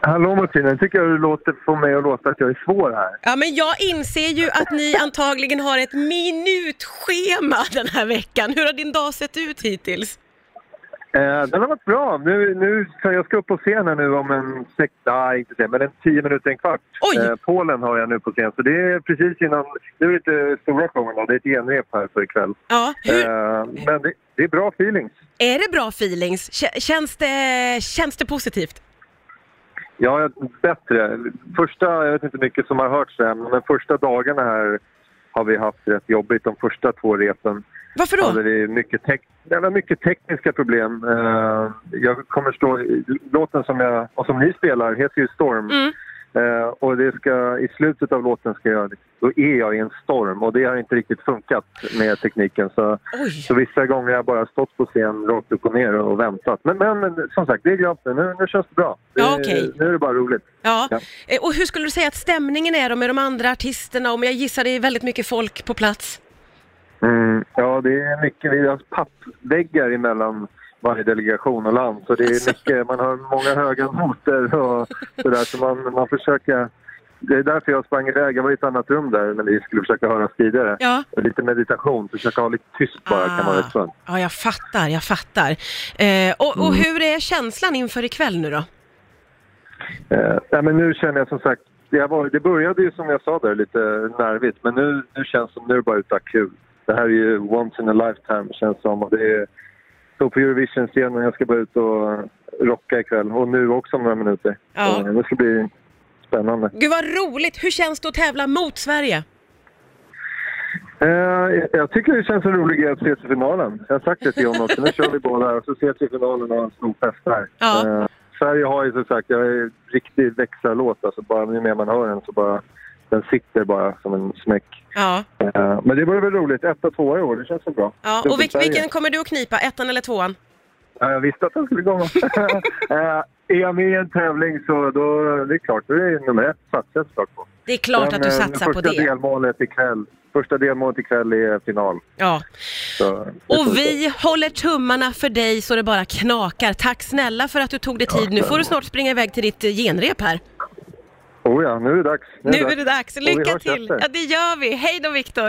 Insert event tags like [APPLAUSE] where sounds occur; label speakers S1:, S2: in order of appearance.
S1: Hallå Martina, nu tycker jag du låter, får mig att låta att jag är svår här.
S2: Ja, men jag inser ju att ni antagligen har ett minutschema den här veckan. Hur har din dag sett ut hittills?
S1: Eh, den har varit bra. Nu, nu, så jag ska upp på scenen nu om en sex, nej, inte sen, men en tio minuter, en kvart. Eh,
S2: Oj!
S1: Polen har jag nu på scen, så det är precis innan, nu är det inte stora showen då, det är ett genrep här för ikväll.
S2: Ja, hur,
S1: Eh, men det, det är bra feelings.
S2: är det bra feelings? Kä- Känns det, känns det positivt?
S1: Ja, jag- bättre. Första, jag vet inte hur mycket som har hörts än, men de första dagarna här har vi haft rätt jobbigt. De första två repen
S2: Varför då?
S1: hade vi Alltså, mycket, tek- det var mycket tekniska problem. Eh, jag kommer stå... Låten som, jag, och som ni spelar heter ju Storm.
S2: Mm.
S1: Eh, och det ska, i slutet av låten ska jag, då är jag i en storm och det har inte riktigt funkat med tekniken. Så,
S2: Oj.
S1: så vissa gånger har jag bara stått på scen rakt upp och ner och väntat. Men, men, men som sagt, det är glömt nu. Nu, nu känns det bra. Det,
S2: Ja, okej.
S1: Nu är det bara roligt.
S2: Ja.
S1: Ja.
S2: Eh, Och hur skulle du säga att stämningen är då med de andra artisterna? Om jag gissar det är väldigt mycket folk på plats.
S1: Mm, ja, det är mycket. Vi har pappväggar emellan varje delegation och land. Så det är mycket, man har många höga noter och sådär. Så man, man försöker... Det är därför jag sprang iväg. Jag var i ett annat rum där när vi skulle försöka höras tidigare.
S2: Ja.
S1: Och Lite meditation, försöka ha lite tyst bara kan vara rätt skönt.
S2: Ja, jag fattar, jag fattar. Eh, och, och
S1: Mm.
S2: hur är känslan inför ikväll nu då?
S1: Eh, nej, men nu känner jag som sagt, det, var, det började ju som jag sa där lite nervigt men nu, nu känns det som nu är det bara utav kul. Det här är ju once in a lifetime känns som och det är så på Eurovision-scenen, jag ska bara ut och rocka ikväll och nu också om några minuter.
S2: Ja.
S1: Så Det ska bli spännande.
S2: Gud vad roligt! Hur känns det att tävla mot Sverige?
S1: Eh, jag tycker det känns en rolig grej att ses i finalen. Jag har sagt det till honom också. Nu kör vi båda och så ses vi i finalen och har en stor fest där.
S2: Ja.
S1: Eh, Sverige har ju som sagt, jag är en riktig växlarlåt. Alltså bara ju mer man hör den så bara, den sitter bara som en smäck.
S2: Ja.
S1: Eh, men det vore väl roligt. Etta, tvåa i år, det känns väl bra.
S2: ja. Och vil-
S1: Dubbel-Sverige.
S2: vilken kommer du att knipa, ettan eller tvåan?
S1: Ja, jag visste att den skulle
S2: [LAUGHS]
S1: komma. uh, är jag med i en tävling så då, det är klart, då är det nummer ett satsar jag såklart på.
S2: Det är klart att du
S1: eh,
S2: satsar på
S1: första
S2: det.
S1: Delmålet ikväll, första delmålet ikväll är final.
S2: Ja.
S1: Så,
S2: Och vi håller tummarna för dig så det bara knakar. Tack snälla för att du tog dig tid. Nu får du snart springa iväg till ditt eh, genrep här.
S1: Oh ja, nu är det dags.
S2: Nu är det dags.
S1: Och vi
S2: Lycka
S1: hörs
S2: till!
S1: efter.
S2: Ja, det gör vi. Hej då Viktor!